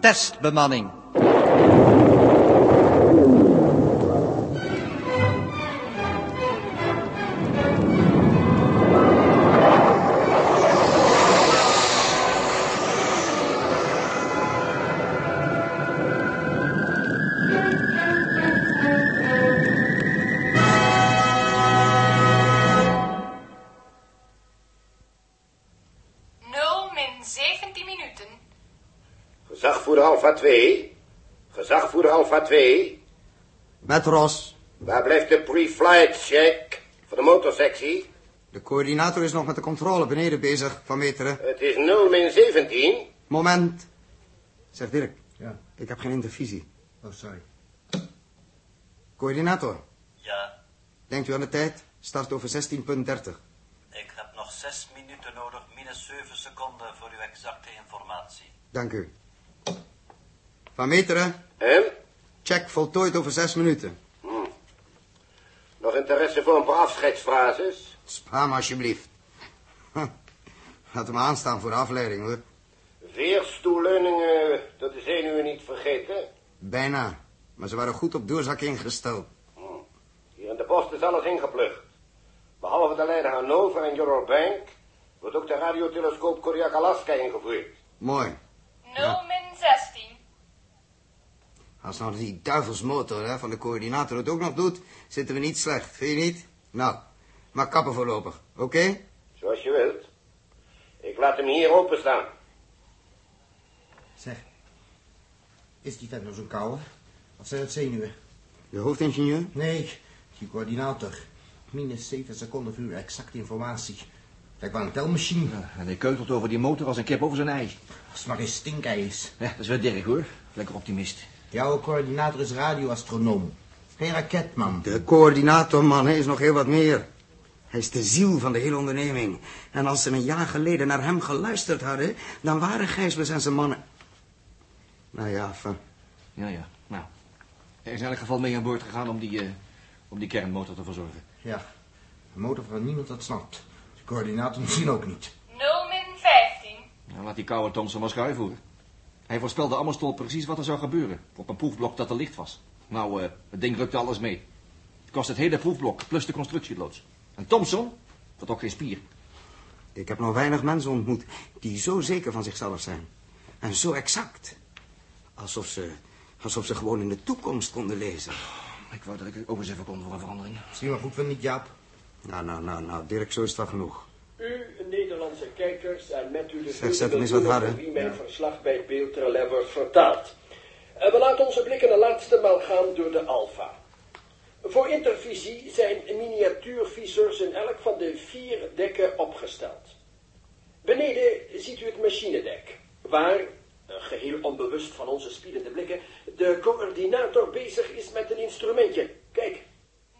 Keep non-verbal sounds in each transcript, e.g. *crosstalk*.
testbemanning. Nul min 17 minuten. Gezagvoerder Alpha 2. Gezagvoerder Alpha 2. Met Ros. Waar blijft de pre-flight check van de motorsectie? De coördinator is nog met de controle beneden bezig van meteren. Het is 0 min 17. Moment. Zeg Dirk, Ja, ik heb geen intervisie. oh sorry. Coördinator, Ja, denkt u aan de tijd? Start over 16.30. ik heb nog zes minuten nodig, minus zeven seconden voor uw exacte informatie. Dank u. Van meteren, Hem? check voltooid over zes minuten. Nog interesse voor een paar afscheidsfrases? Spaar me alsjeblieft. Huh. Laat hem aanstaan voor de afleiding hoor. Veerstoelleuningen, dat is één uur niet vergeten. Bijna. Maar ze waren goed op doorzak ingesteld. Hier in de post is alles ingeplucht. Behalve de leider Hannover en Eurobank wordt ook de radiotelescoop Koreak-Alaska ingevoerd. Mooi. 0 min 16. Als nou die duivelsmotor hè, van de coördinator het ook nog doet, zitten we niet slecht. Vind je niet? Nou, maar kappen voorlopig. Oké? Zoals je wilt. Ik laat hem hier openstaan. Zeg, is die tent nou zo'n koude? Of zijn het zenuwen? De hoofdingenieur? Nee, die coördinator. Minus 7 seconden voor uw exacte informatie. Lijkt wel een telmachine. En hij keutelt over die motor als een kip over zijn ei. Als het maar geen stinkei is. Ja, dat is wel Dirk hoor. Lekker optimist. Jouw coördinator is radioastronoom. Geen raketman. De coördinator, man, hij is nog heel wat meer. Hij is de ziel van de hele onderneming. En als ze een jaar geleden naar hem geluisterd hadden, dan waren Gijsbers en zijn mannen... Nou ja, van... Ja, ja. Nou, hij is in elk geval mee aan boord gegaan om die, eh, om die kernmotor te verzorgen. Ja, een motor van niemand dat snapt. De coördinator misschien ook niet. 0 min 15. Nou, laat die koude Thompson maar schuivoeren. Hij voorspelde Ammerstol precies wat er zou gebeuren. Op een proefblok dat er licht was. Nou, eh, het ding rukte alles mee. Het kost het hele proefblok, plus de constructieloods. En Thompson? Dat ook geen spier. Ik heb nog weinig mensen ontmoet die zo zeker van zichzelf zijn. En zo exact. Alsof ze, alsof ze gewoon in de toekomst konden lezen. Ik wou dat ik ook eens even kon voor een verandering. Misschien wel goed van niet, Jaap. Nou, nou, nou, nou, Dirk, zo is het wel genoeg. U, Nederlandse kijkers, en met u de Zeg, zet hem eens wat harder. door wie mijn verslag bij het beeldrelais wordt vertaald. En we laten onze blikken een laatste maal gaan door de Alfa. Voor intervisie zijn miniatuurviseurs in elk van de vier dekken opgesteld. Beneden ziet u het machinedek, waar, eh, geheel onbewust van onze spiedende blikken, de coördinator bezig is met een instrumentje. Kijk.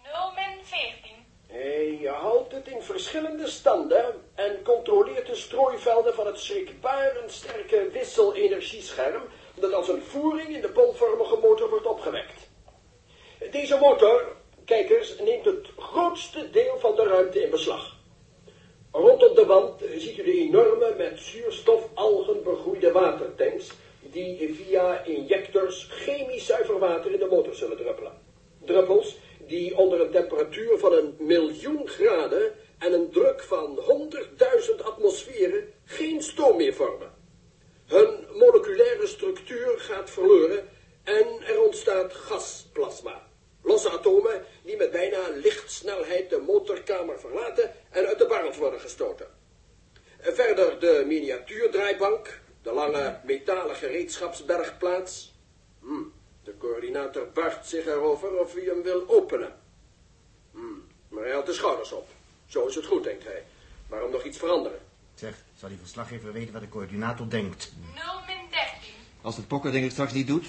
0 min 14. Eh, Je houdt het in verschillende standen en controleert de strooivelden van het schrikbarend sterke wisselenergiescherm dat als een voering in de bolvormige motor wordt opgewekt. Deze motor, kijkers, neemt het grootste deel van de ruimte in beslag. Rondom de wand eh, ziet u de enorme met zuurstofalgen begroeide watertanks die via injectors chemisch zuiver water in de motor zullen druppelen. Druppels die onder een temperatuur van een miljoen graden en een druk van 100.000 atmosferen geen stoom meer vormen. Hun moleculaire structuur gaat verloren en er ontstaat gasplasma. Losse atomen die met bijna lichtsnelheid de motorkamer verlaten en uit de barrels worden gestoten. Verder de miniatuurdraaibank, de lange metalen gereedschapsbergplaats. Hm, de coördinator buigt zich erover of hij hem wil openen. Hm, maar hij haalt de schouders op. Zo is het goed, denkt hij. Waarom nog iets veranderen? Zeg, zal die verslaggever weten wat de coördinator denkt? 0 min 13. Als dat pokkerding het straks niet doet,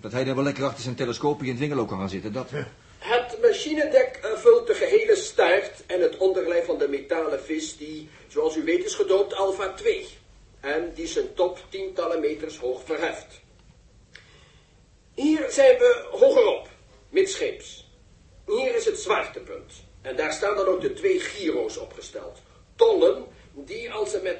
dat hij dan wel lekker achter zijn telescoopje in het winkel ook kan gaan zitten. Dat... Het machinedek eh, vult de gehele staart en het onderlijf van de metalen vis die, zoals u weet, is gedoopt Alpha 2. En die zijn top tientallen meters hoog verheft. Hier zijn we hogerop, midscheeps. Hier is het zwaartepunt. En daar staan dan ook de twee gyro's opgesteld. Tollen die, als ze met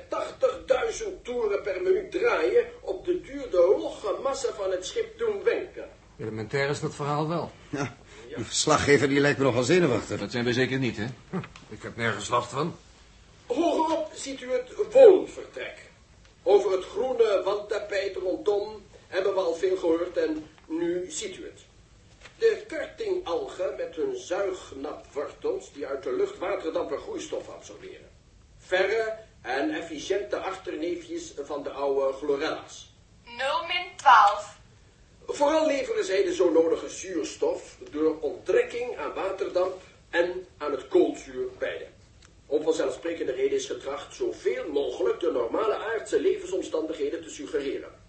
80.000 toeren per minuut draaien, op de duur de logge massa massa van het schip doen wenken. Elementair is dat verhaal wel. Ja, die verslaggever die lijkt me nogal zenuwachtig. Dat zijn we zeker niet, hè? Ik heb nergens last van. Hogerop ziet u het woonvertrek. Over het groene wandtapijt rondom hebben we al veel gehoord en nu ziet u het. De kartingalgen met hun zuignapwortels die uit de lucht waterdamp en groeistof absorberen. Verre en efficiënte achterneefjes van de oude chlorella's. 0 min 12. Vooral leveren zij de zo nodige zuurstof door onttrekking aan waterdamp en aan het koolzuur beide. Om vanzelfsprekende reden is getracht zoveel mogelijk de normale aardse levensomstandigheden te suggereren.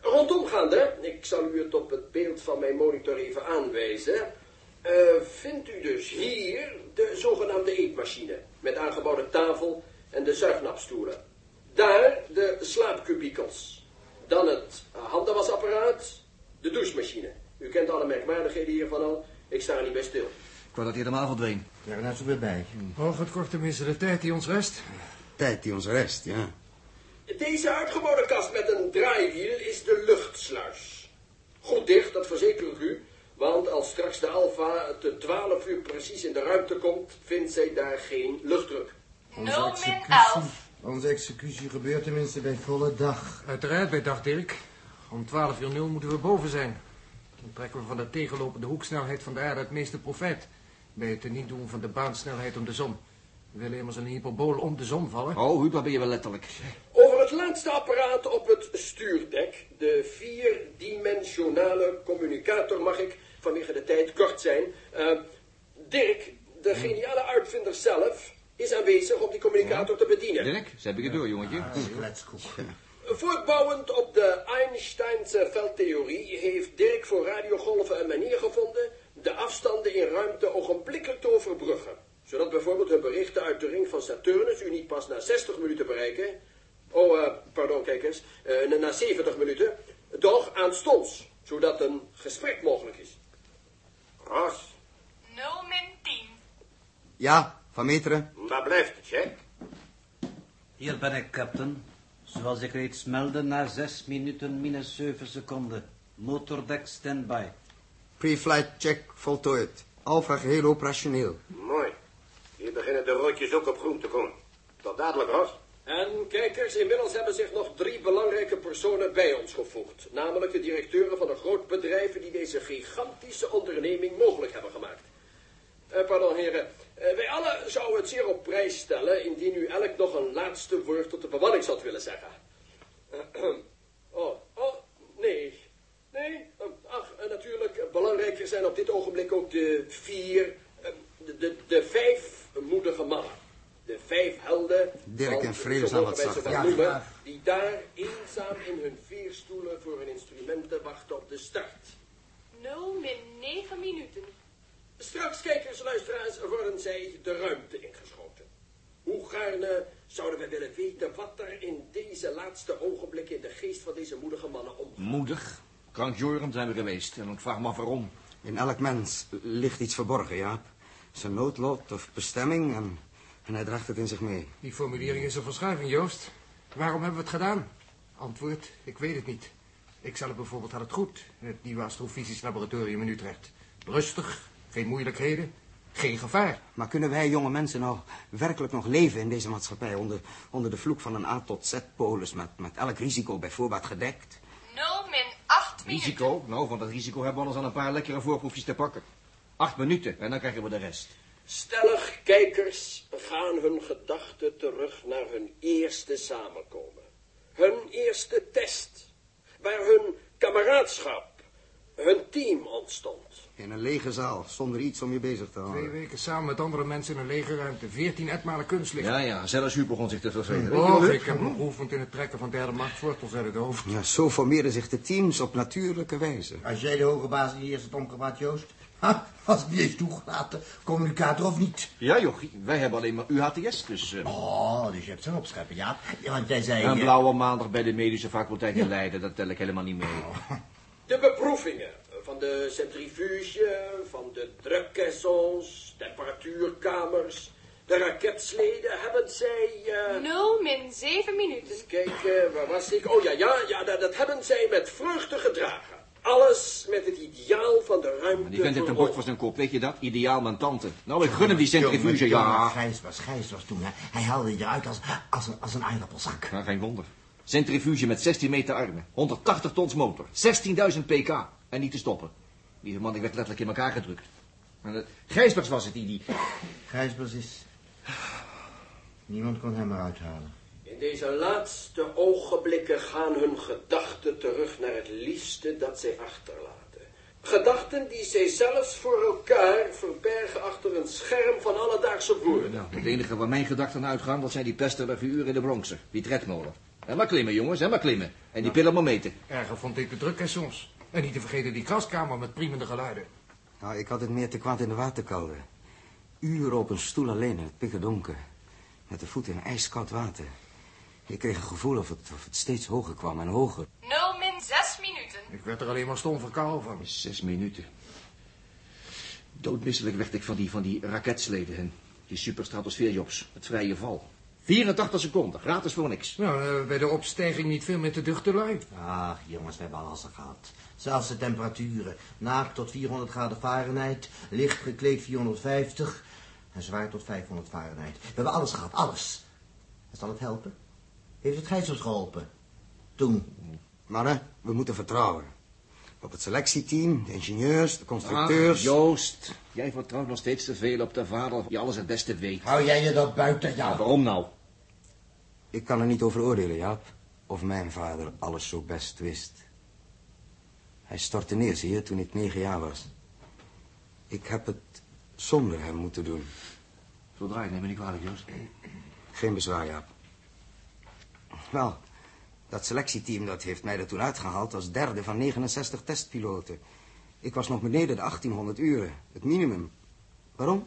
Rondomgaande, ik zal u het op het beeld van mijn monitor even aanwijzen, eh, vindt u dus hier de zogenaamde eetmachine met aangebouwde tafel en de zuignapstoelen. Daar de slaapkubikels. Dan het handenwasapparaat, de douchemachine. U kent alle merkwaardigheden hiervan al, ik sta er niet bij stil. Ik wou dat hij helemaal verdween. Daar net zo weer bij. Oh, het kort tenminste de tijd die ons rest. Tijd die ons rest, ja. Deze uitgeboren kast met een draaiwiel is de luchtsluis. Goed dicht, dat verzeker ik u. Want als straks de Alfa te 12 uur precies in de ruimte komt, vindt zij daar geen luchtdruk. 0 min 11. Onze executie gebeurt tenminste bij volle dag. Uiteraard bij dag, Dirk. Om 12 uur 0 moeten we boven zijn. Dan trekken we van de tegenlopende hoeksnelheid van de aarde het meeste profijt. Bij het niet doen van de baansnelheid om de zon. We willen immers een hyperbool om de zon vallen. Oh, Huub, daar ben je wel letterlijk. Over het laatste apparaat op het stuurdek, de vierdimensionale communicator, mag ik vanwege de tijd kort zijn. Eh, Dirk, de geniale uitvinder zelf, is aanwezig om die communicator te bedienen. Dirk, ze hebben je door, jongetje. Kletskoek. Voortbouwend op de Einsteinse veldtheorie heeft Dirk voor radiogolven een manier gevonden de afstanden in ruimte ogenblikkelijk te overbruggen. Zodat bijvoorbeeld de berichten uit de ring van Saturnus u niet pas na 60 minuten bereiken. Oh, eh, pardon kijkers, eh, na 70 minuten. Doch aanstonds, zodat een gesprek mogelijk is. Ros, 0 min 10. Ja, van meteren. waar blijft het, Jack? Hier ben ik, captain. Zoals ik reeds meldde, na 6 minuten minus 7 seconden. Motordek standby. Pre-flight check voltooid. Alpha geheel operationeel. Mooi. Hier beginnen de roodjes ook op groen te komen. Tot dadelijk, Ros. En kijkers, inmiddels hebben zich nog drie belangrijke personen bij ons gevoegd. Namelijk de directeuren van de grootbedrijven die deze gigantische onderneming mogelijk hebben gemaakt. Eh, pardon heren, Eh, wij allen zouden het zeer op prijs stellen indien u elk nog een laatste woord tot de bemanning zou willen zeggen. *clears throat* oh, oh, nee. Nee, eh, ach, eh, natuurlijk, eh, belangrijker zijn op dit ogenblik ook de vier, eh, de, de, de vijf moedige mannen. De vijf helden. Dirk want en Frederik zo zijn mogen wat wij ze zachter. wel Ja, noemen, graag. Die daar eenzaam in hun vier stoelen voor hun instrumenten wachten op de start. 0 min 9 minuten. Straks, kijkers, luisteraars, worden zij de ruimte ingeschoten. Hoe gaarne zouden we willen weten wat er in deze laatste ogenblikken in de geest van deze moedige mannen omgaat. Moedig. Krankjoren zijn we geweest. En ik vraag me af waarom. In elk mens ligt iets verborgen, Jaap. Zijn noodlot of bestemming en, en hij draagt het in zich mee. Die formulering is een verschuiving, Joost. Waarom hebben we het gedaan? Antwoord, ik weet het niet. Ik zelf bijvoorbeeld had het goed in het nieuwe astrofysisch laboratorium in Utrecht. Rustig, geen moeilijkheden, geen gevaar. Maar kunnen wij jonge mensen nou werkelijk nog leven in deze maatschappij... onder, onder de vloek van een A tot Z-polis met, met elk risico bij voorbaat gedekt? 0 min 8 minuten. Risico? Nou, van dat risico hebben we alles aan een paar lekkere voorproefjes te pakken. Acht minuten en dan krijgen we de rest. Stellig kijkers gaan hun gedachten terug naar hun eerste samenkomen. Hun eerste test, waar hun kameraadschap, hun team ontstond. In een lege zaal, zonder iets om je bezig te Twee houden. weken samen met andere mensen in een lege ruimte. Veertien etmalen kunstlicht. Ja, ja, zelfs Huub begon zich te vervelen. Och, ik heb me geoefend in het trekken van derde machtswortels uit het hoofd. Ja, zo formeren zich de teams op natuurlijke wijze. Als jij de hoge baas niet eerst had omgewaad, Joost. Ha, als die is toegelaten, communicator of niet. Ja, jochie, wij hebben alleen maar UHTS, dus... eh, Oh, dus je hebt zo'n opscheppen, ja. Ja, Want jij zei... Een eh, blauwe maandag bij de medische faculteit in Leiden, dat tel ik helemaal niet mee. De beproevingen van de centrifuge, van de drukcaissons, temperatuurkamers, de De raketsleden hebben zij... eh, 0 min 7 minuten. Eens kijken, waar was ik? Oh ja, ja, ja dat, dat hebben zij met vreugde gedragen. Alles met het ideaal van de ruimte. Maar die vent heeft een bord verhoogd. voor zijn kop, weet je dat? Ideaal mijn tante. Nou, ik gun hem die centrifuge, Jongen, jongen, ja. Gijs was, Gijs was toen. Hè. Hij haalde je uit als, als, een, als een aardappelzak. Ja, geen wonder. Centrifuge met 16 meter armen, 180 tons motor, 16.000 pk. En niet te stoppen. Lieve man, ik werd letterlijk in elkaar gedrukt. En dat- Gijsbers was het die, die... Gijsbers is... Niemand kon hem eruit halen. In deze laatste ogenblikken gaan hun gedachten terug naar het liefste dat zij achterlaten. Gedachten die zij zelfs voor elkaar verbergen achter een scherm van alledaagse woorden. Nou, het enige waar mijn gedachten uitgaan, dat zijn die pesterige uren in de Bronxer. Die tredmolen. En maar klimmen, jongens, en maar klimmen. En die pillen maar meten. Erger vond ik de drukte soms. En niet te vergeten die kraskamer met priemende geluiden. Nou, ik had het meer te kwaad in de waterkelder. Uren op een stoel alleen in het pikkerdonker. Met de voeten in ijskoud water. Ik kreeg een gevoel of het, of het steeds hoger kwam en hoger. 0 min 6 minuten. Ik werd er alleen maar stom verkouden van. Zes minuten. Doodmisselijk werd ik van die, van die raketsleden en die superstratosfeerjobs. Het vrije val. 84 seconden, gratis voor niks. Nou, eh, bij de opstijging niet veel meer te duchten lui. Ach, jongens, we hebben alles al gehad. Zelfs de temperaturen. Naakt tot 400 graden Fahrenheit. Licht gekleed 450. En zwaar tot 500 Fahrenheit. We hebben alles gehad, alles. En Zal het helpen? Heeft het Gijs ons geholpen? Toen. Mannen, we moeten vertrouwen. Op het selectieteam, de ingenieurs, de constructeurs. Ach, Joost, jij vertrouwt nog steeds te veel op de vader die alles het beste weet. Hou jij je dat buiten Ja, jou? waarom nou? Ik kan er niet over oordelen, Jaap. Of mijn vader alles zo best wist. Hij stortte neer, zie je, toen ik negen jaar was. Ik heb het zonder hem moeten doen. Zo draait, neem me niet kwalijk, Joost. Geen bezwaar, Jaap. Wel, dat selectieteam dat heeft mij er toen uitgehaald als derde van 69 testpiloten. Ik was nog beneden de 1800 uren, het minimum. Waarom?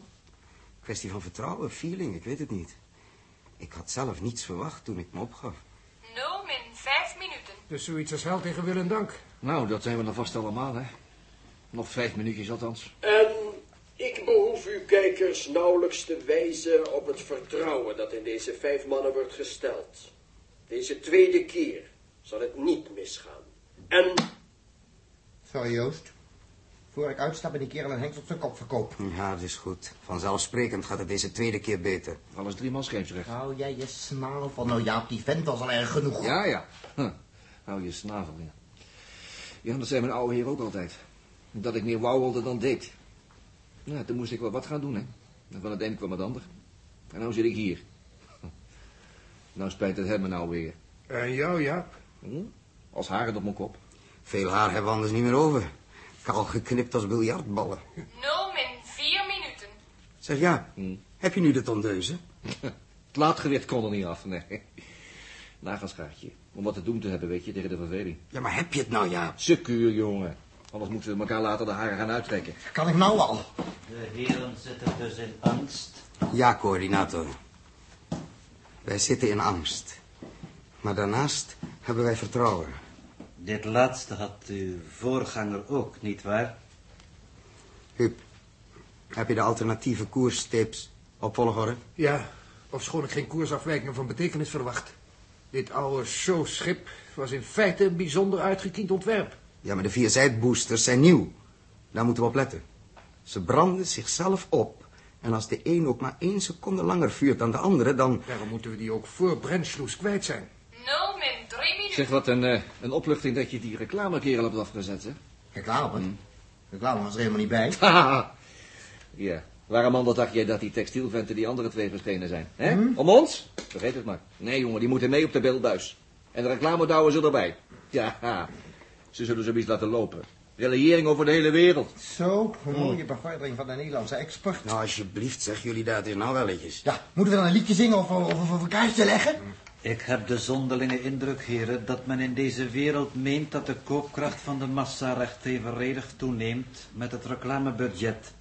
Kwestie van vertrouwen, feeling, ik weet het niet. Ik had zelf niets verwacht toen ik me opgaf. 0 min 5 minuten. Dus zoiets als hel tegen wil en dank. Nou, dat zijn we dan vast allemaal, hè. Nog vijf minuutjes althans. En ik behoef uw kijkers nauwelijks te wijzen op het vertrouwen dat in deze vijf mannen wordt gesteld. Deze tweede keer zal het niet misgaan. En Sorry, Joost. Voor ik uitstap en die kerel een hengst op zijn kop verkoop. Ja, dat is goed. Vanzelfsprekend gaat het deze tweede keer beter. Alles drie man scheepsrecht. Hou jij je snaal van... Nou Jaap, die vent was al erg genoeg. Ja, ja. Huh. Hou je snavel in. Ja, dat zei mijn oude heer ook altijd. Dat ik meer wauwelde dan deed. Nou, toen moest ik wel wat gaan doen, hè. En van het een kwam het ander. En nou zit ik hier. *laughs* Huh. Nou spijt het hem mijn oude heer. En Eh, jou, Jaap? Hm? Als haren op mijn kop. Veel haar hebben we anders niet meer over. Kaal geknipt als biljartballen. 0 min 4 minuten. Zeg, ja, heb je nu de tondeuze? Het laadgewicht kon er niet af, nee. Nagelschaartje. Om wat te doen te hebben, weet je, tegen de verveling. Ja, maar heb je het nou, Jaap? Secuur, jongen. Anders moeten we elkaar later de haren gaan uittrekken. Kan ik nou al? De heren zitten dus in angst. Ja, coördinator. Wij zitten in angst. Maar daarnaast hebben wij vertrouwen. Dit laatste had uw voorganger ook, nietwaar? Huub, heb je de alternatieve koerstips op volgorde? Ja, ofschoon ik geen koersafwijkingen van betekenis verwacht. Dit oude showschip was in feite een bijzonder uitgekiend ontwerp. Ja, maar de vier zijdboosters zijn nieuw. Daar moeten we op letten. Ze branden zichzelf op. En als de een ook maar één seconde langer vuurt dan de andere, dan... Daarom moeten we die ook voor Brennsloes kwijt zijn. 0 min 3 minuten. Zeg, wat een, eh, een opluchting dat je die reclamekerel hebt afgezet, hè? Mm. Reclame? Reclame was er helemaal niet bij. Haha. *laughs* ja, waarom anders dacht jij dat die textielventen die andere twee verschenen zijn? Hè? Mm. Om ons? Vergeet het maar. Nee, jongen, die moeten mee op de beeldbuis. En de reclamedouwen ze erbij. Ja, ze zullen zoiets laten lopen. Reliëring over de hele wereld. Zo, een mooie bevordering van de Nederlandse export. Nou, alsjeblieft, zeg jullie dat is nou wel eventjes. Ja, moeten we dan een liedje zingen of, of, of, of een kaartje leggen? Ik heb de zonderlinge indruk, heren, dat men in deze wereld meent dat de koopkracht van de massa recht evenredig toeneemt met het reclamebudget.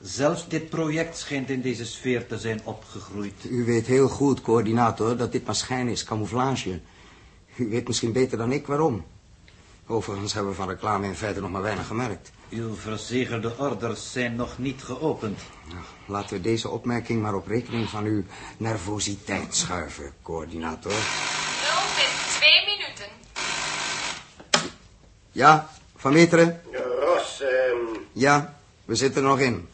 Zelfs dit project schijnt in deze sfeer te zijn opgegroeid. U weet heel goed, coördinator, dat dit maar schijn is, camouflage. U weet misschien beter dan ik waarom. Overigens hebben we van reclame in feite nog maar weinig gemerkt. Uw verzegelde orders zijn nog niet geopend. Nou, laten we deze opmerking maar op rekening van uw nervositeit schuiven, coördinator. 0 min 2 minuten. Ja, Van Meteren? Ros, ehm, Ja, we zitten er nog in.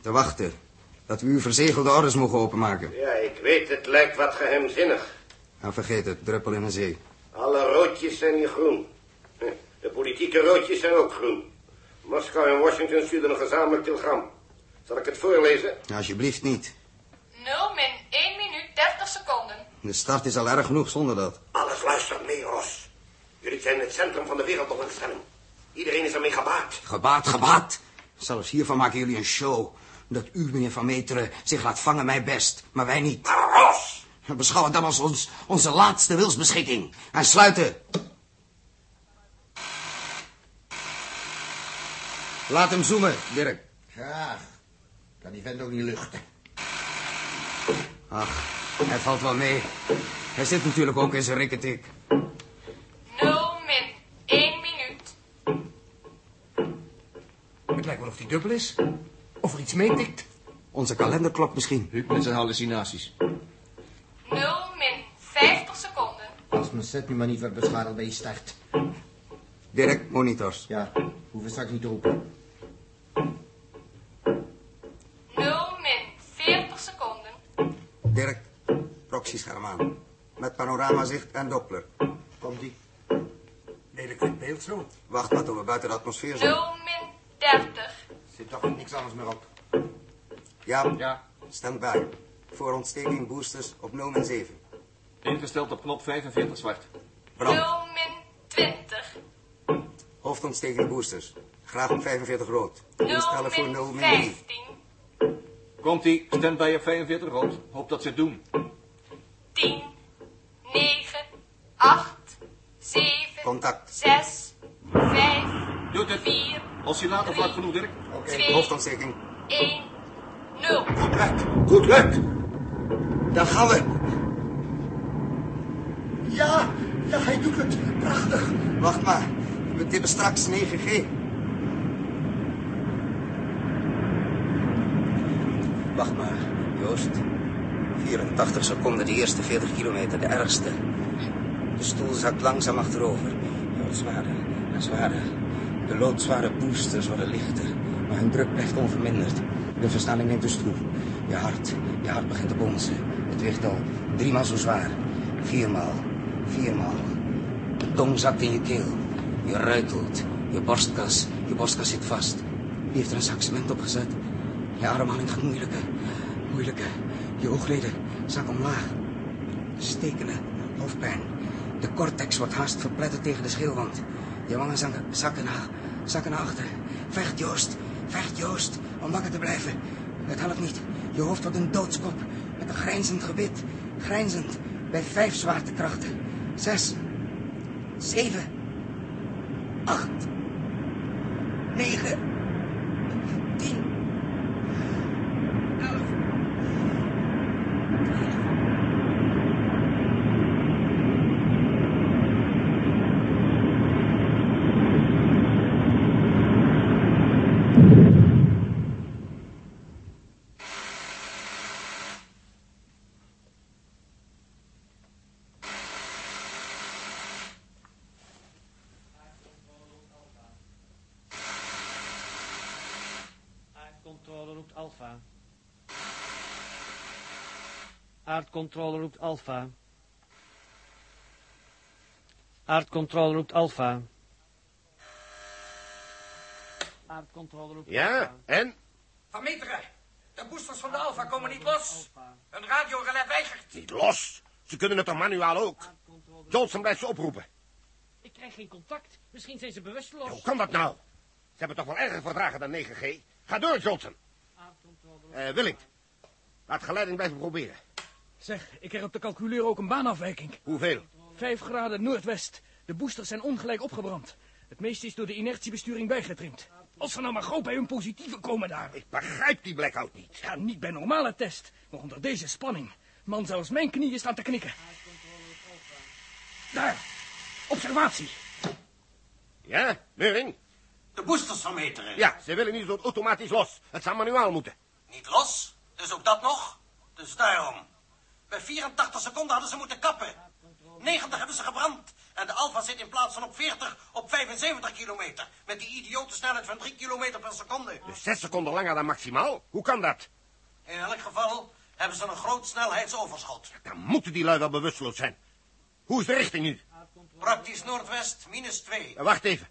Te wachten. Dat we uw verzegelde orders mogen openmaken. ja, ik weet, het lijkt wat geheimzinnig. Nou, vergeet het, druppel in de zee. Alle roodjes zijn hier groen. Hm, De politieke roodjes zijn ook groen. Moskou en Washington stuurden een gezamenlijk telegram. Zal ik het voorlezen? Nou, alsjeblieft niet. 0 min 1 minuut 30 seconden. De start is al erg genoeg zonder dat. Alles luistert mee, Ros. Jullie zijn het centrum van de wereldbelangstelling. Iedereen is ermee gebaat. Gebaat, gebaat. Zelfs hiervan maken jullie een show. Dat u, meneer Van Meteren, zich laat vangen, mij best. Maar wij niet. Maar Ros! Beschouw het dan als ons, onze laatste wilsbeschikking. En sluiten. Laat hem zoomen, Dirk. Graag. Kan die vent ook niet luchten. Ach, hij valt wel mee. Hij zit natuurlijk ook in zijn rikketik. 0 min 1 minuut. Het lijkt wel of die dubbel is. Of er iets meetikt. Onze kalenderklok misschien. Huub met zijn hallucinaties. 0 min 50 seconden. Als mijn set nu maar niet wordt beschadigd bij je start. Dirk, monitors. Ja, hoeven straks niet te roepen. 0 min 40 seconden. Dirk, proxyscherm aan. Met panoramazicht en doppler. Komt ie. Lelijk wit beeld zo. Wacht maar tot we buiten de atmosfeer zijn. 0 min 30. Zit toch niks anders meer op. Ja, Ja. stand bij. Voor ontsteking boosters op 0 en 7. Ingesteld op knop 45 zwart. Brand. 0 min 20. Hoofdontsteking boosters. Graag op 45 rood. 0 Instellen voor 0 min min 3. 15. Komt-ie, standby op 45 rood. Hoop dat ze het doen. 10, 9, 8, 7, Contact. 6, 5, Doet het. 4, Oscillator vlak genoeg, Dirk. 2, Hoofdontsteking. 1, 0. Goed lukt. Goed lukt. Daar gaan we. Ja, ja, hij doet het. Prachtig. Wacht maar. We tippen straks 9G. Wacht maar, Joost. 84 seconden, de eerste 40 kilometer, de ergste. De stoel zakt langzaam achterover. Het wordt zwaarder en zwaarder. De loodzware boosters worden lichter, maar hun druk blijft onverminderd. De versnelling neemt dus toe. Je hart, je hart begint te bonzen. Het weegt al driemaal zo zwaar. Viermaal, viermaal. De tong zakt in je keel. Je ruitelt. Je borstkas, je borstkas zit vast. Wie heeft er een zak cement op gezet? Je ademhaling gaat moeilijker, moeilijker. Je oogleden zakken omlaag. Stekende hoofdpijn. De cortex wordt haast verpletterd tegen de scheelwand. Je wangen zakken, zakken, naar, zakken naar achter. Vecht, Joost. Vecht, Joost. Om wakker te blijven. Het helpt niet. Je hoofd wordt een doodskop. Met een grijnzend gebit. Grijnzend. Bij vijf zwaartekrachten. Zes. Zeven. Acht. Negen. Tien. Elf. Aardcontrole roept Alfa. Aardcontrole roept Alfa. Aardcontrole roept Alfa. Aardcontrole roept Ja, en? Van Meteren, de boosters van de Alfa komen niet los. Een radiorelais weigert. Niet los. Ze kunnen het toch manuaal ook? Johnson blijft ze oproepen. Ik krijg geen contact. Misschien zijn ze bewusteloos. Hoe kan dat nou? Ze hebben toch wel erger verdragen dan 9G? Ga door, Johnson. Aardcontrole roept- Eh Willink, laat geleiding blijven proberen. Zeg, ik heb op de calculeer ook een baanafwijking. Hoeveel? 5 graden noordwest. De boosters zijn ongelijk opgebrand. Het meeste is door de inertiebesturing bijgetrimd. Als ze nou maar gauw bij hun positieve komen daar. Ik begrijp die blackout niet. Ja, niet bij normale test, maar onder deze spanning. Man, zelfs mijn knieën staan te knikken. Daar, observatie. Ja, Meuring? De boosters vermeteren. Ja, ze willen niet zo automatisch los. Het zou manuaal moeten. Niet los, dus ook dat nog. Dus daarom. Bij 84 seconden hadden ze moeten kappen. 90 hebben ze gebrand. En de Alfa zit in plaats van op 40 op 75 kilometer. Met die idiote snelheid van 3 kilometer per seconde. Dus zes seconden langer dan maximaal? Hoe kan dat? In elk geval hebben ze een groot snelheidsoverschot. Dan moeten die lui wel bewusteloos zijn. Hoe is de richting nu? Praktisch noordwest, minus 2. Eh, Wacht even.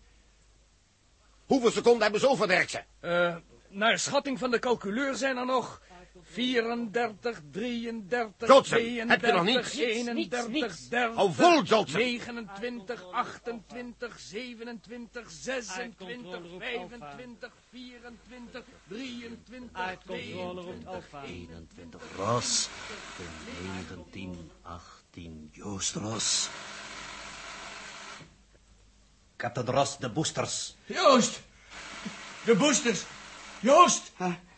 Hoeveel seconden hebben ze over, Derksen? Eh, naar schatting van de calculeur zijn er nog 34, 33, Johnson, 32, heb je nog niets? Niets, niets, 31, niets. 30, Hou vol, Johnson. 29, 28, 27, 26, 25, 24, 23, 22, 21 Ros, 19, 18 Joost Ros. Captain Ros, de boosters. Joost! De boosters! Joost!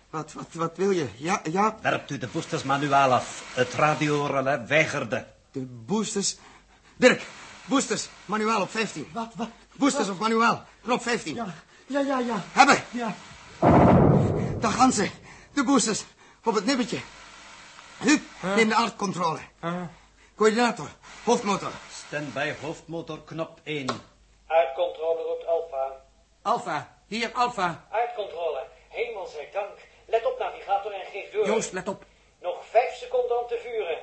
wat, wat, wat wil je? Ja, ja. Werpt u de boosters manuaal af. Het radiorelais weigerde. De boosters. Dirk, boosters, manuaal op 15. Wat, wat? Boosters op manuaal, knop 15. Ja, ja, ja. ja. Hebben! Ja. Daar gaan ze, de boosters, op het nippertje. Huub, neem de aardcontrole. Coördinator, hoofdmotor. Stand bij hoofdmotor knop 1. Uitcontrole roept Alfa. Alfa, hier Alfa. Uitcontrole. Hemel zij dank. Let op, navigator, en geef door. Joost, let op. Nog vijf seconden om te vuren.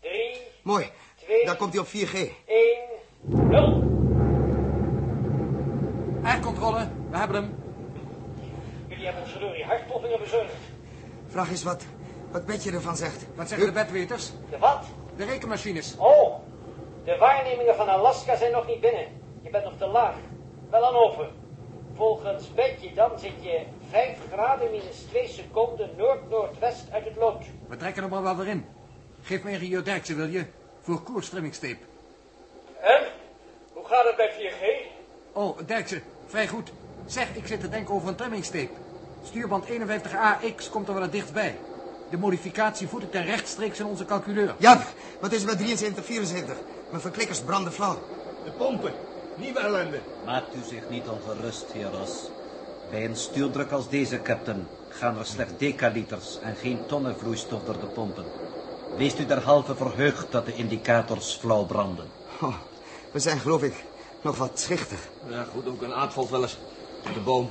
Drie, Mooi, twee, daar komt hij op 4G. één, nul. Aardcontrole, we hebben hem. Jullie hebben ons verdorie hartploffingen bezorgd. Vraag eens wat, wat Betje ervan zegt. Wat zeggen de bedweters? De wat? De rekenmachines. Oh, de waarnemingen van Alaska zijn nog niet binnen. Je bent nog te laag. Wel aan over. Volgens Betje dan zit je 5 graden minus 2 seconden noord-noordwest uit het lood. We trekken hem er wel weer in. Geef me een Rio Derksen, wil je? Voor koerstrimmingstape. En? Hoe gaat het bij 4G? Oh, Derksen, vrij goed. Zeg, ik zit te denken over een trimmingstape. Stuurband 51AX komt er wel het dichtst bij. De modificatie voert ik dan rechtstreeks in onze calculeur. Ja, wat is er met 73, 74? Mijn verklikkers branden flauw. De pompen, nieuwe ellende. Maakt u zich niet ongerust, heer Ros. Bij een stuurdruk als deze, captain, gaan er slechts decaliters en geen tonnen vloeistof door de pompen. Wees u derhalve verheugd dat de indicators flauw branden. Oh, we zijn geloof ik nog wat schichtig. Ja, goed, ook een aard valt wel eens. Op de boom.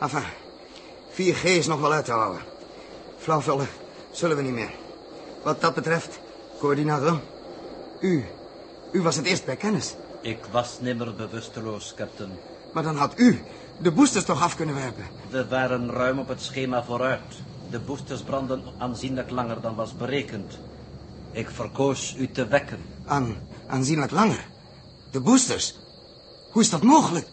Enfin, 4G is nog wel uit te houden. Flauwvullen zullen we niet meer. Wat dat betreft, coördinator, u, u was het eerst bij kennis. Ik was nimmer bewusteloos, captain. Maar dan had u de boosters toch af kunnen werpen. We waren ruim op het schema vooruit. De boosters brandden aanzienlijk langer dan was berekend. Ik verkoos u te wekken. Aan, aanzienlijk langer. De boosters. Hoe is dat mogelijk?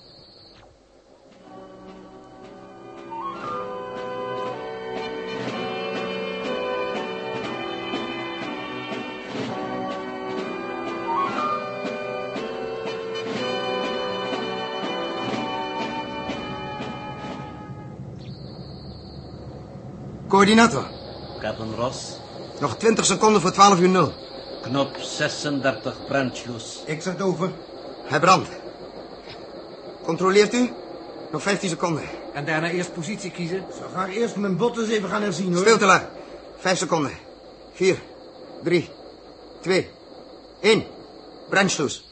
Coördinator, Captain Ross, nog 20 seconden voor 12 uur 0. knop 36 brandschloes. Ik zet over. Hij brandt. Controleert u? Nog 15 seconden. En daarna eerst positie kiezen. Zo ga ik eerst mijn botten eens *laughs* even gaan herzien, hoor. Stilte lui. 5 seconden. 4, 3, 2, 1. Brandsloes.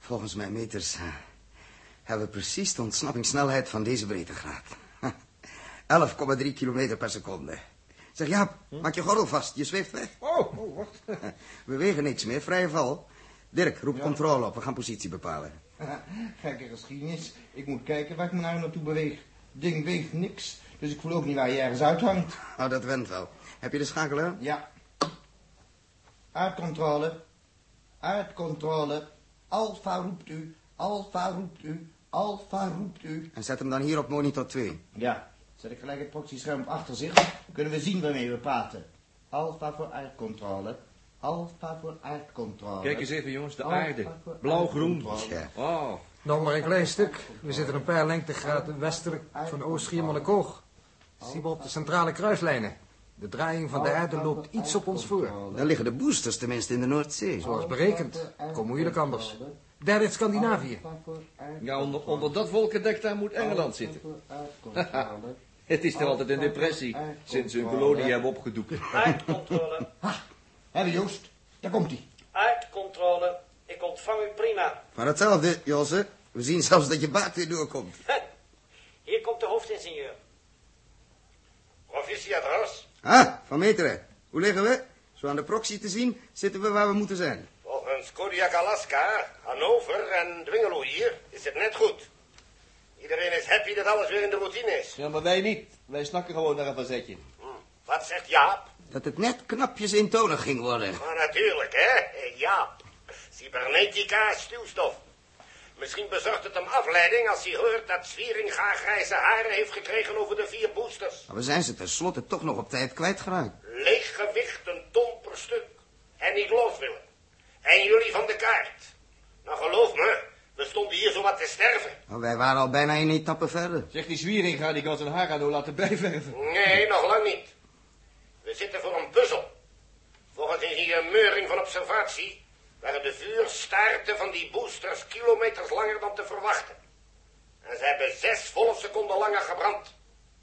Volgens mijn meters eh, hebben we precies de ontsnappingssnelheid van deze breedtegraad. *laughs* 11,3 kilometer per seconde. Zeg Jaap, maak je gordel vast. Je zweeft weg. Hm? Oh, oh wacht. *laughs* We wegen niks meer. Vrije val. Dirk, roep controle op. We gaan positie bepalen. Gekke geschiedenis. Ik moet kijken waar ik mijn arm naartoe beweeg. Ding weegt niks, dus ik voel ook niet waar je ergens uithangt. Nou, dat went wel. Heb je de schakelaar? Ja. Aardcontrole. Aardcontrole. Alfa roept u. Alfa roept u. Alfa roept u. En zet hem dan hier op monitor 2. Ja, zet ik gelijk het proxyscherm op achter zich. Dan kunnen we zien waarmee we praten. Alfa voor aardcontrole. Alfa voor aardcontrole. Kijk eens even, jongens, de Alpha aarde. voor Blauw-groen. aardcontrole. Oh. Nog maar een klein stuk. We zitten een paar lengtegraden westelijk van Oost-Schiermonnikoog. Zie we op de centrale kruislijnen. De draaiing van de aarde loopt iets op ons voor. Dan liggen de boosters tenminste in de Noordzee. Zoals berekend. Kom moeilijk anders. Daar ligt Scandinavië. Ja, onder, onder dat wolkendek daar moet Engeland zitten. *laughs* Het is nog altijd een depressie sinds ze hun kolonie hebben opgedoekt. *laughs* Aardcontrole. Ah, Hebben Joost, daar komt hij. Aardcontrole. Ik ontvang u prima. Maar hetzelfde, Josse. We zien zelfs dat je baard weer doorkomt. *laughs* Hier komt de hoofdingenieur. Proficiators, Ah, Van Meteren. Hoe liggen we? Zo aan de proxy te zien, zitten we waar we moeten zijn. volgens Kodiak Alaska, Hannover en Dwingelo hier is het net goed. Iedereen is happy dat alles weer in de routine is. Hm, Ja, maar wij niet. Wij snakken gewoon naar een facetje. Wat zegt Jaap? Dat het net knapjes eentonig ging worden. Maar natuurlijk, hè? Jaap. Cybernetica is stuwstof. Misschien bezorgt het hem afleiding als hij hoort dat Zwieringa grijze haren heeft gekregen over de vier boosters. Maar we zijn ze tenslotte toch nog op tijd kwijtgeraakt. Leeg gewicht, een ton per stuk. En niet los willen. En jullie van de kaart. Nou, geloof me, we stonden hier zo wat te sterven. Maar wij waren al bijna een etappe verder. Zeg, die Zwieringa, die kan zijn haar aan laten bijverven. Nee, nog lang niet. We zitten voor een puzzel. Volgens ingenieur Meuring van observatie waren de vuurstaarten van die boosters kilometers langer dan te verwachten. En ze hebben zes volle seconden langer gebrand.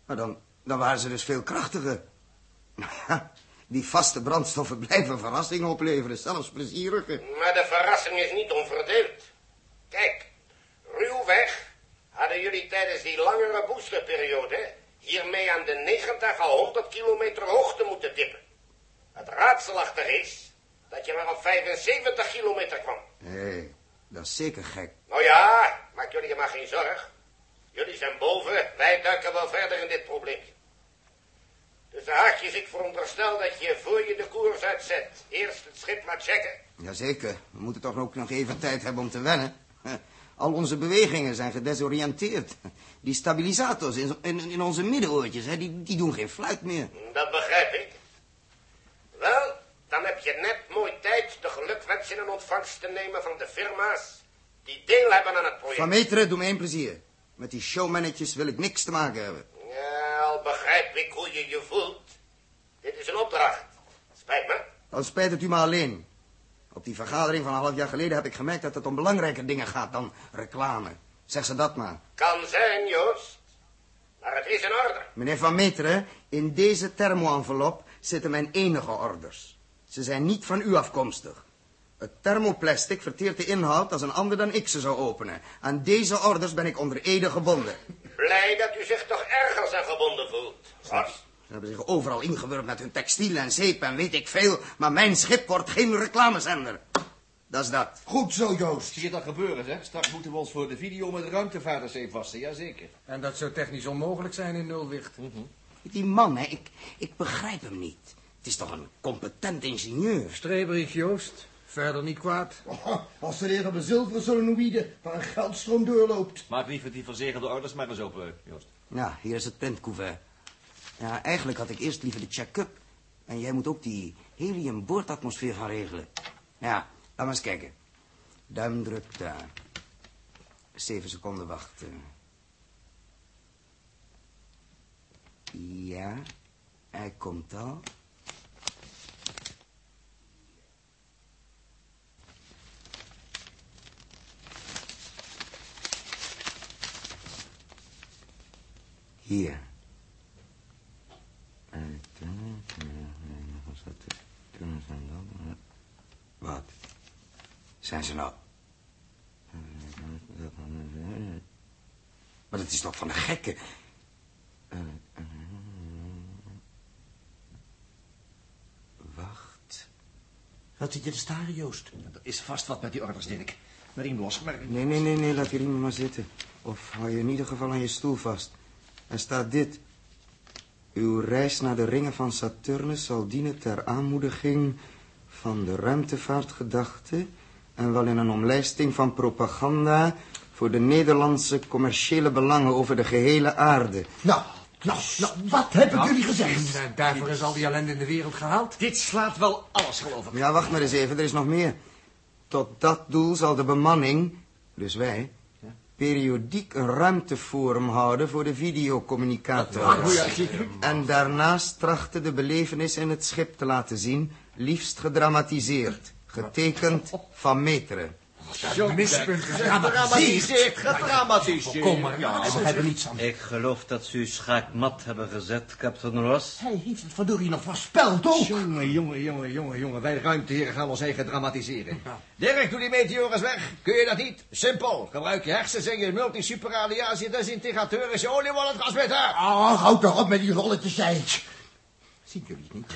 Maar dan, dan waren ze dus veel krachtiger. *laughs* Nou ja, die vaste brandstoffen blijven verrassingen opleveren, zelfs plezierige. Maar de verrassing is niet onverdeeld. Kijk, ruwweg hadden jullie tijdens die langere boosterperiode hiermee aan de 90 à 100 kilometer hoogte moeten tippen. Het raadselachtig is dat je maar op 75 kilometer kwam. Hé, dat is zeker gek. Nou ja, maak jullie je maar geen zorg. Jullie zijn boven, wij duiken wel verder in dit probleempje. Dus de haakjes, ik veronderstel dat je voor je de koers uitzet, eerst het schip laat checken. Jazeker, we moeten toch ook nog even tijd hebben om te wennen. *laughs* Al onze bewegingen zijn gedesoriënteerd. Die stabilisators in, in, in onze middenoortjes, hè, die, die doen geen fluit meer. Dat begrijp ik. Wel, dan heb je net mooi tijd de gelukwensen in ontvangst te nemen van de firma's die deel hebben aan het project. Van Meteren, doe me één plezier. Met die showmannetjes wil ik niks te maken hebben. Ja, al begrijp ik hoe je je voelt. Dit is een opdracht. Spijt me. Dan spijt het u maar alleen. Op die vergadering van een half jaar geleden heb ik gemerkt dat het om belangrijke dingen gaat dan reclame. Zeg ze dat maar. Kan zijn, Joost. Maar het is in orde. Meneer Van Meteren, in deze thermo-envelop zitten mijn enige orders. Ze zijn niet van u afkomstig. Het thermoplastic verteert de inhoud als een ander dan ik ze zou openen. Aan deze orders ben ik onder ede gebonden. Blij dat u zich toch ergens aan gebonden voelt. Wat? Ze hebben zich overal ingewurmd met hun textiel en zeep en weet ik veel, maar mijn schip wordt geen reclamezender. Dat is dat. Goed zo, Joost. Zie je dat gebeuren, zeg? Straks moeten we ons voor de video met ruimtevaarders even vasten, jazeker. En dat zou technisch onmogelijk zijn in nulwicht. Die man, hè, ik, ik begrijp hem niet. Het is toch een competent ingenieur. Streberig Joost, verder niet kwaad. *laughs* Als ze weer op een zilveren solenoïde waar een geldstroom doorloopt. Maak liever die verzegelde orders maar eens open, eh, Joost. Ja, hier is het printcouvert. Ja, eigenlijk had ik eerst liever de check-up. En jij moet ook die heliumboordatmosfeer gaan regelen. Ja, laat maar eens kijken. Duimdruk daar. Zeven seconden wachten. Ja, hij komt al. Hier. En toen, toen was dat het. Toen zijn dat. eh, Wat? Zijn ze nou? Maar dat is toch van de Eh, gekken? Wacht. Wat zit je te staren, Joost? Er is vast wat met die orders, Dirk. Maar riem los, maar... Nee, nee, nee, nee, laat die riemen maar zitten. Of hou je in ieder geval aan je stoel vast. Er staat dit. Uw reis naar de ringen van Saturnus zal dienen ter aanmoediging van de ruimtevaartgedachte... en wel in een omlijsting van propaganda voor de Nederlandse commerciële belangen over de gehele aarde. Nou, nou, nou, wat hebben jullie gezegd? En eh, daarvoor is al die ellende in de wereld gehaald. Dit slaat wel alles, geloof ik. Ja, wacht maar eens even, er is nog meer. Tot dat doel zal de bemanning, dus wij, periodiek een ruimte voor hem houden voor de videocommunicator. Dat was het. En daarnaast trachten de belevenis in het schip te laten zien, liefst gedramatiseerd. Getekend van meteren. Zo'n mispunt Gedramatiseerd, gedramatiseerd. Kom maar, ja. Ik begrijp er niets van. Ik geloof dat ze u schaakmat hebben gezet, kapitein Ross. Hij heeft het verdorie nog voorspeld ook. Jongen, jongen, jongen, jongen, jongen. Wij ruimteheren gaan ons eigen dramatiseren. Dirk, doe die meteores weg. Kun je dat niet? Simpel. Gebruik je hersens je multisuperaliaas, je desintegrateur is je oliebollentransmitter. Oh, houd toch op met die rolletjes, zei Zien jullie het niet?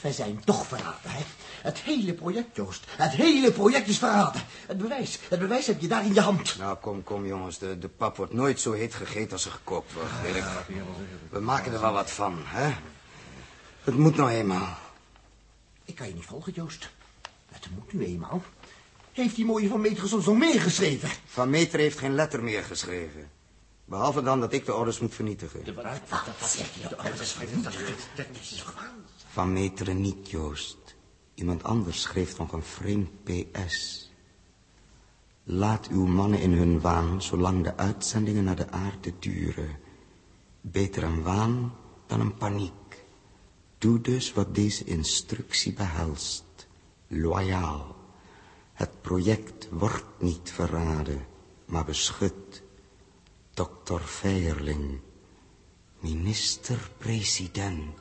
Wij zijn toch verraden, hè? Het hele project, Joost. Het hele project is verraden. Het bewijs, het bewijs heb je daar in je hand. Nou, kom, kom jongens. De, de pap wordt nooit zo heet gegeten als er gekookt wordt, Dirk. We maken er wel wat van, hè? Het moet nou eenmaal. Ik kan je niet volgen, Joost. Het moet nu eenmaal. Heeft die mooie van Meter soms nog meer geschreven? Van Meter heeft geen letter meer geschreven. Behalve dan dat ik de orders moet vernietigen. Wat zeg je? nou? Dat is vernietigd. Dat is Van Meteren niet, Joost. Iemand anders schreef nog een vreemd PS. Laat uw mannen in hun waan, zolang de uitzendingen naar de aarde duren. Beter een waan dan een paniek. Doe dus wat deze instructie behelst. Loyaal. Het project wordt niet verraden, maar beschut. Dr. Feierling, minister-president.